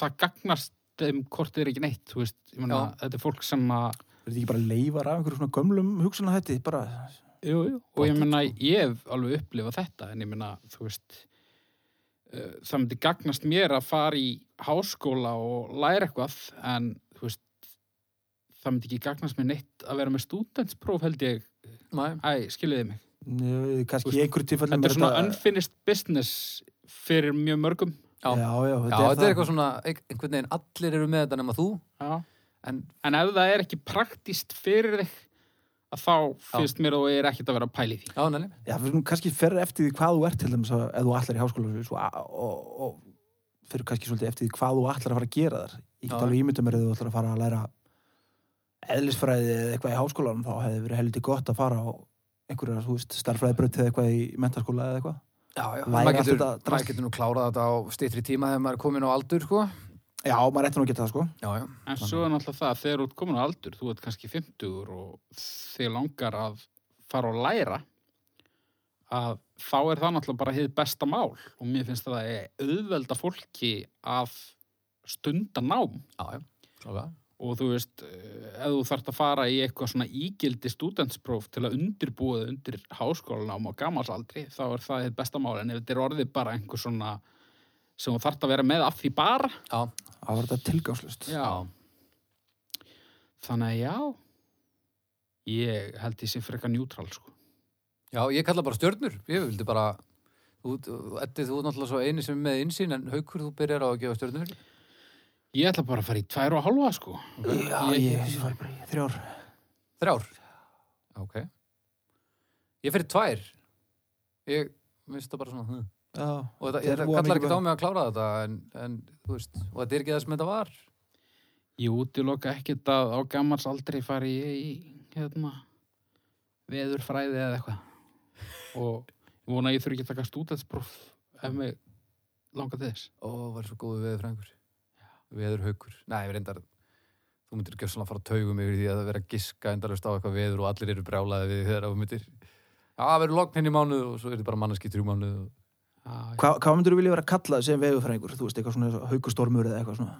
það gagnast þeim hvort þeir ekki neitt, þú veist, ég meina Já. þetta er fólk sem að þetta ekki bara leifar af einhverjum svona gömlum hugsana þetta, bara, Jú, jú. Og ég Pottet, meina, sko. ég hef alveg upplifað þetta, en ég meina, þú veist, uh, það myndi gagnast mér að fara í háskóla og læra eitthvað, en þú veist, það myndi ekki gagnast mér neitt að vera með stúdentspróf, held ég. Nei. Æ, skiljiði mig. njö, Þú kannski veist, í einhverjum tilfellum Mm, Þetta er svona unfinished business fyrir mjög mörgum. Já. já, já, Já, þetta, þetta það. er eitthvað svona, ein- einhvern veginn allir eru með þetta nema þú, Já. en En ef það er ekki praktist fyrir þig, að þá finnst mér að þú er ekkert að vera að pæli því. já, neðli. Já, við erum kannski fer eftir því hvað þú ert til dæmis að ef þú ætlar í háskóla svo, a- og, og fyrir kannski svolítið eftir því hvað þú ætlar að fara að gera þar ég Já. get alveg ímyndum mér að þú ætlar að fara að læra eðlisfræði eða eitthvað í háskólanum þá hefði verið heldur gott að fara á einhverjar, þú veist, starfræðibraut eða eitthvað í mentaskóla eða eitthvað Já, já. Læra Maður allt getur, þetta maður drasl. getur nú klárað þetta á stýttri tíma þegar maður er komin á aldur, sko. Já, maður ætti nú að geta það sko Já, já. En svo er náttúrulega það að þegar þú ert komin á aldur, þú ert kannski 50 og þið langar að fara og læra, að þá er það náttúrulega bara hið besta mál og mér finnst það að það er auðvelda fólki að stunda nám Já, já. Klárlega. og þú veist, eh, ef þú þarft að fara í eitthvað svona ígildi stúdentspróf til að undirbúa þig undir háskólanám á gamalsaldri, þá er það hið besta mál en ef þetta er orðið bara einhver svona sem þú þarft að vera með af því bara, Já, Það var þetta tilgangslust Já. Þannig að já, ég held ég sé frekar njútrál, sko. Já, ég kalla bara stjörnur. Ég vildi bara, þú, Eddi, þú er náttúrulega svo eini sem er með innsýn, en haukur, þú byrjar á að gefa stjörnur. Ég ætla bara að fara í tvær og halva, sko. Já, ég, ég fæ bara í þrjár Þrjár. Ok. Ég fyrir tvær. Ég minnst það bara svona, hm. Já, Og Þetta þetta, er þetta voða kallar mikið ekki á mig að klára þetta, en, en, þú veist, og þetta er ekki það sem þetta var. Ég útiloka ekkert að á gamars aldrei fari ég í, hérna, veðurfræði eða eitthvað. Og ég vona að ég þurfi ekki að taka stúdentspróf ef mig langar til þess. Ó, var svo góðu veður frængur. Veður haukur. Nei, við reyndar, þú myndir ekki að fara að taugum yfir því að það vera að giska endarast á eitthvað veður og allir eru brjálaði við þegar þú myndir. Já, það verður lokn henni mánuð og svo er þetta bara manneski í þrjú mánuð og Ah, Hva, Hvað myndur þú vilja vera kallað sem vegufræðingur? Þú veist, eitthvað svona haugustormur eða eitthvað svona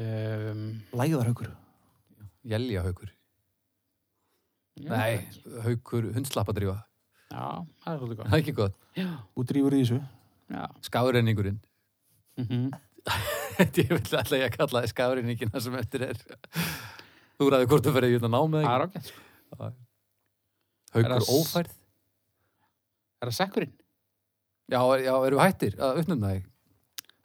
um, Lægðarhaugur Jælja haukur. ég veit Nei, ekki. haukur hundslappadrífa. Já, það er svolítið Það gott. er ekki gott. Já, Þú drífur í þessu já. Skárenningurinn. [laughs] Mm ég vil alltaf ég að kalla það skárenningina sem eftir er. Þú ræður hvort þú ferði í hérna þetta námið. Það er ágætt, sko. Haukur er það s- ófærð. Er það sekkurinn? Já, er- já, eru hættir að uppnum það.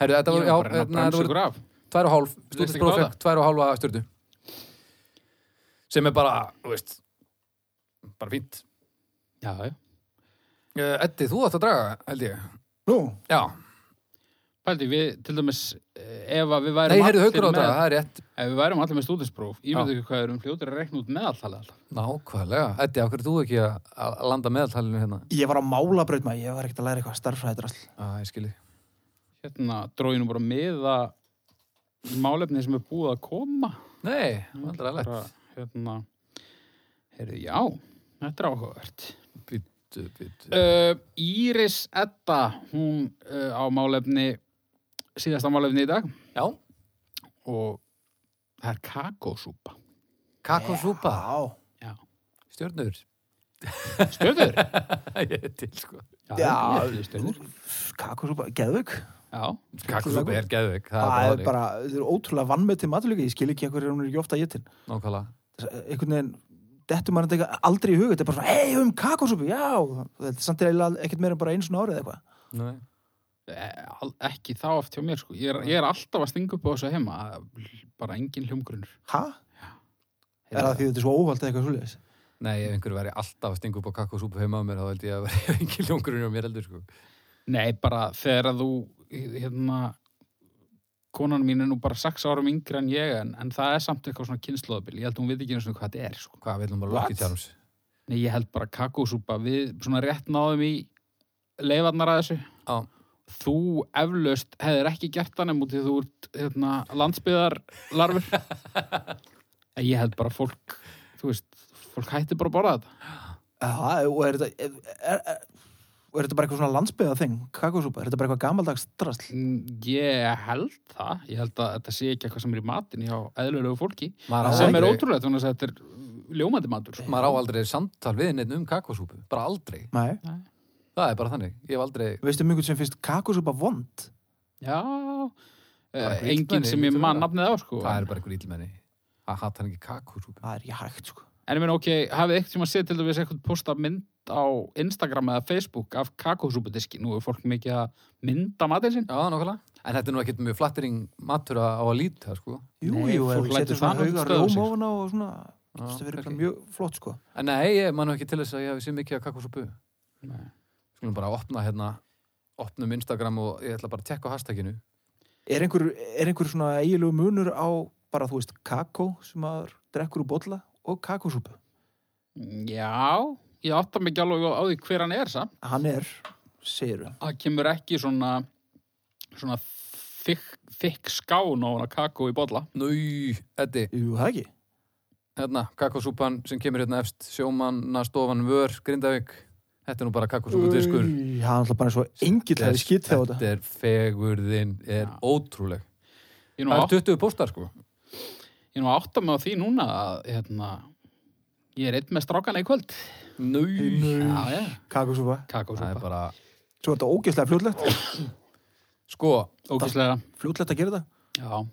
Herru, þetta voru, Ég já, var bara að hérna, þetta bremsa voru ykkur af. tvær og hálf, Leist ekki stúdinspróf á fekk tvær og hálfa stjörnu. Sem er bara, þú veist, bara fínt. Já, já. Eh, Eddi, þú átt að draga, held ég. Nú, Já, Pældi, við til dæmis eh, ef að við nei, værum heyrðu haukur á með, þetta, það er rétt. ef við værum allir með stúdinspróf ég Já. veit ekki hvað erum fljótur að rekna út meðaltalið alltaf Nákvæmlega. Eddi, af hverju ert þú ekki að- að landa meðaltalinu hérna? ég var á málabraut maður, ég var ekkert að læra eitthvað starfræðidrasl. Já, ég skilji. hérna dróinu bara með að málefni sem er búið að koma Nei, aldrei að bara, lett. hérna heyrðu, já, þetta er áhugavert Býttu, býttu. uh, Íris Edda hún uh, á málefni síðasta málefni í dag Já, og það er kakósúpa kakosúpa, Já, stjörnur. [laughs] Stjörður? ég er til, sko. Já. ég er stjörður. kakosúpa, geðvögg. Já, Kakosúpa er geðveik, það Það, er er Ah, bara... bara, þetta er ótrúlega vannmetið maturleika, ég skil ekki að hverju hún er ekki ofta að getin. þannig. Nákvæmlega. Einhvern veginn, dettur maður þetta eitthvað aldrei í huga, þetta er bara svona, hei, um kakosúpu, já, þetta er samt eiginlega ekkert meira en bara eins og árið eða eitthvað. Nei. eh, al- ekki þá oft hjá mér sko. ég, er, ég er alltaf að stinga upp á þessu heima bara engin hljómgrunnur Hérna, Hæ? Er það því þetta er svo óvald eða eitthvað svoleiðis? Nei, ef einhver væri alltaf að stinga upp á kakkosúpu heima á mér, þá held ég að vera [laughs] engin ljóngurinn á mér heldur, sko. nei bara þegar að þú hérna konan mín er nú bara sex árum yngri en ég en, en það er samt eitthvað svona kynnslóðabil ég held að hún veit ekki einu sinni hvað þetta er sko. Hvað, við erum bara What? lokið tjáms? nei ég held bara kakósúpa við svona rétt náðum í leifarnar að þessu Já, þú eflaust hefðir ekki gert það nefnum út því þú ert hérna, landsbyðar [laughs] larfur en ég held bara fólk þú veist, fólk hætti bara að borða þetta Aha, og er þetta, er, er, er, og er þetta bara eitthvað svona landsbyða þing, kakosúpa? Er þetta bara eitthvað gamaldags drasl? Mm, ég held það, ég held að þetta sé ekki eitthvað sem er í matin hjá eðlulegu fólki maður á sem er aldrei- ótrúlegt þannig að þetta er uh, ljómandi matur sko. Maður á aldrei samtal við neitt um kakkosúpu, bara aldrei. Nei. Það er bara þannig. Ég hef aldrei, Veistu mjög sem finnst kakosúpa vond? já Bara eh, hvítmenni, enginn sem ég hlýtur að mann vera. nafnið á sko. það er bara einhver íllmenni. Það hatt hann ekki kakkosúpu. Það er ekki hægt, sko. en ég meina ok, hafið eitt sem að setja til þess eitthvað posta mynd á Instagram eða Facebook af kakósúpudiski nú er fólk mikið að mynda matinn sinn Já, nokkulega. En þetta er nú ekkert mjög flattering matur að- á að líta, sko. Jú, Nei, jú, ef fólk við lætur setjum það nú svona ekki hauga stöðva sig. rjóma ofan á og svona, Já, þetta verður bara kannski. mjög flott, sko. En nei, ég man nú ekki til þess að ég hafi séð mikið af kakkosúpu. Nei. Skulum bara opna hérna, opnum Instagram og ég ætla bara að tekka á hashtaginu. Er einhver, er einhver svona eiginlegu munur á bara, þú veist, kakó sem maður drekkur úr bolla og kakosúpu? Já, ég átta mig ekki alveg á því hver hann er samt. Hann er, segir við. Það kemur ekki svona, svona þykk, þykk skán á hana kakó í bolla. Nú, Eddi, Jú, það ekki? hérna, kakosúpan sem kemur hérna efst, sjómanna, stofan, vör, grindavík. Þetta er nú bara kakosúpudiskur. Új, Hann er alltaf bara eins og engill hefði skitt þá þetta. Þetta er fegurðin, er Já. ótrúleg. Ég nú, Það átt, er 20 póstar, sko. ég nú átta mig á því núna að hérna, ég er einn með strákana í kvöld. Nú, Já, já, Kakosúpa. það er kakósúpa. bara, Svo er þetta ógeðslega fljótlegt. sko, Ógíslega, Fljótlegt að gera þetta. já.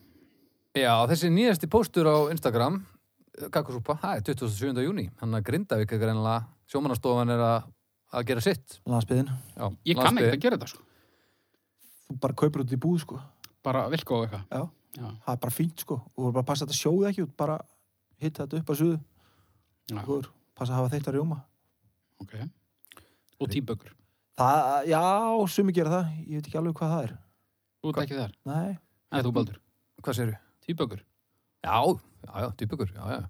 já, þessi nýjasti póstur á Instagram, kakosúpa, það er 27. júni. Þannig að grindavík er greinlega, sjómannastofan er að, að gera sitt. Landsbyðin. Já, Ég kann landsbyggðin. ekkert að gera þetta, sko. Þú bara kaupir út í búð, sko. Bara vilkó og eitthvað. Já. Já. Það er bara fínt, sko. Þú voru bara að passa að þetta sjóði ekki út, bara hitta þetta upp að suðu. Já. Þú voru passa að hafa þetta rjóma. Ok. Og tíbökur. Það, já, sumi gera það. Ég veit ekki alveg hvað það er. Þú ert ekki þar. Nei. En þú baldur. Hvað segirðu? Tíbökur. Já, já, já, dýbyggur, já, já.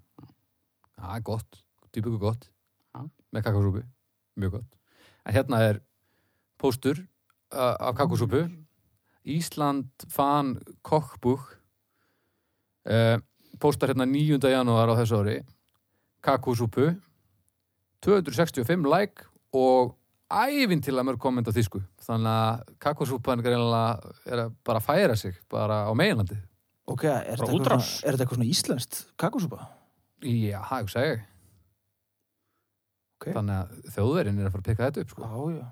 Það er gott, dýbyggur gott. Já. Með kakosúpu, mjög gott. En hérna er póstur uh, af kakosúpu. Ísland fan kokkbúk. Uh, póstar hérna 9. janúar á þessu ári. Kakosúpu. 265 like og ævinn til að mörg komment á þýsku. Þannig að kakosúpan greinlega er að bara færa sig bara á meginlandið. Ok, er þetta, eitthvað svona, útrás. er þetta eitthvað svona íslenskt kakosúpa? Já, það hugsa ég. Ok. Þannig að þjóðverinn er að fara að pikka þetta upp, sko. Já, já.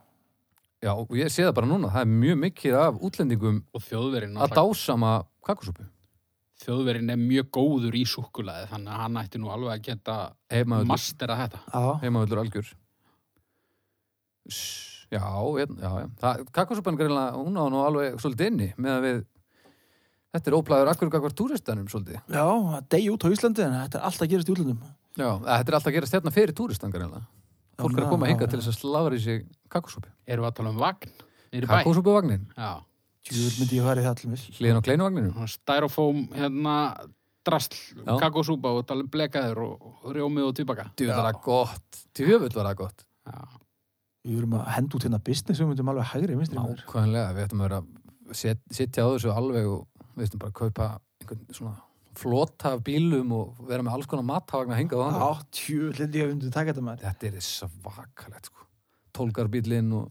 Já, og ég sé það bara núna. Það er mjög mikið af útlendingum Og þjóðverinn. að dásama kakosúpu. Þjóðverinn er mjög góður í súkkulaði, þannig að hann ætti nú alveg að geta Heimaðullur, mastera þetta. Já, heimaðullur algjör. Sss, Já, hérna, já, já. Það, kakosúpan greinlega, hún á nú alveg svolítið inni með að við, þetta er óplæður akkur kakvar túristanum svolítið. já, það degi út á Íslandi en þetta er alltaf að gerast í útlöndum. Já, þetta er alltaf að gerast hérna fyrir túristan greinlega. Fólk er að koma hingað til þess að slára í sig kakosúpu. Erum við að tala um vagn? Niður í bæ? Kakosúpuvagnin, Já. Tjúr myndi ég farið það til mér. hliðin á kleinuvagninum. Svona Styrofóm, hérna, drasl, Já. kakosúpa og tala um blekaður og og rjómi og týpaka. Djöfull var það gott, djöfull var það gott Já. Við erum að henda út hérna business og myndum alveg hægri vinstri. maður. Nákvæmlega, við ættum að vera að set, sitja á þessu alveg og við ættum bara að kaupa einhvern svona flota af bílum og vera með alls konar mattavagna hingað á Já, hann tjúr myndi ég að myndi taka þetta maður. Þetta er svakalegt sko Tólgarbílinn og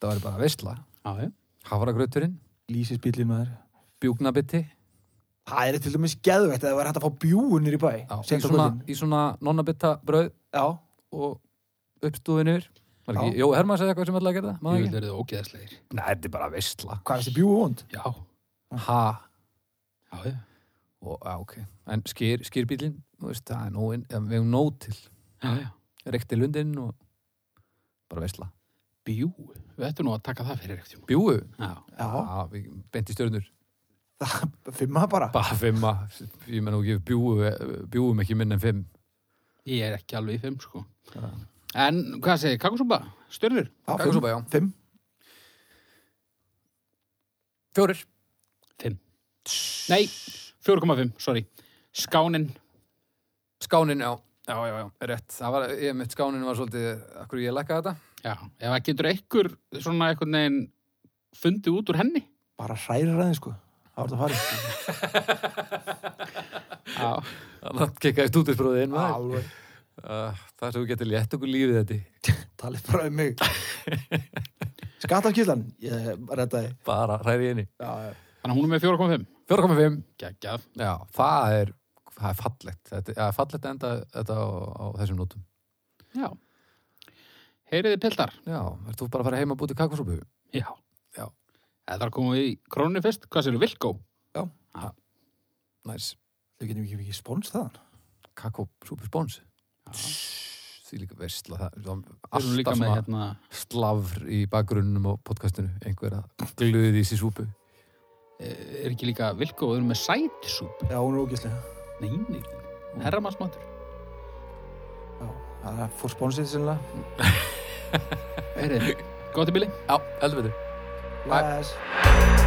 það væri bara veistla Já, já. Hafragrauturinn, Lýsisbílinn maður. bjúgnabitti Það er til dæmis geðvegt að það væri hægt að fá bjúunir í bæ. Já, í seint á svona, kvöldin. í svona nonnabitta brauð Já, og uppstúðin yfir Var ekki, Já. Jó, Hermann sagði eitthvað sem ætlaði að gera það Ég vil maður ekki? verið ógeðslegir. Nei, þetta er bara veistla hvað er þetta bjúu vond? Já. Ha, Já, já. og, já, ok En skýr, skýrbílinn, þú veist, það er nóg inn, eða við hefum nóg til Já, já. reykti lundinn og bara veistla Bjú, við ættum nú að taka það fyrir ekkert Bjúu? Já, Já, Já, við benti stjörnur. fimma bara. Bara fimma. Ég menn og ekki bjúu, bjúum ekki minn en fimm. ég er ekki alveg í fimm sko Já. En hvað segir, kakosúpa, styrður? Já, Kakósopa, já. Fimm. Fjórir. Nei, 4,5, sorry Skánin, Skánin, já. Já, já, já, rétt. Það var, ég mitt skánin var svolítið, akkur ég lækka þetta. já, ef það getur einhver svona einhvern veginn fundið út úr henni Bara hrærir aðeins, sko. Það var þetta farið. Já, Þannig að kekkaði stúdisbróðið inn með Alveg. það. Það sem við getum létt okkur lífið þetta. Talið bara um [laughs] mig. Skattafkýrlan. Ég reddaði. Bara hræði inni. Já, já. þannig að hún er með 4,5 4,5. Gægjað Já, það er, það er fallegt. Þetta það er fallegt að enda þetta á, á þessum nótum. Já Heyriði piltar Já, ert þú bara að fara heima að búti kakosúpu? Já Já. Eða þar komum við í krónu fyrst, hvað segir Vilko? Næs. Þau getum ekki mikið spóns þaðan. Kakosúpu spóns. Já, Því líka veistla það. það var þeir eru líka alltaf með svona hérna slavr í bakgrunnum á podcastinu. Einhver að glöði í sér súpu. eh, Er ekki líka Vilko, við erum með sætisúpu Já, hún er ógæslega. Nei, nei, herramannsmatur Já, það er- fór spónsið sinnilega. Heyriði, gott í bíli Já, heldur betur. Bye. Læs.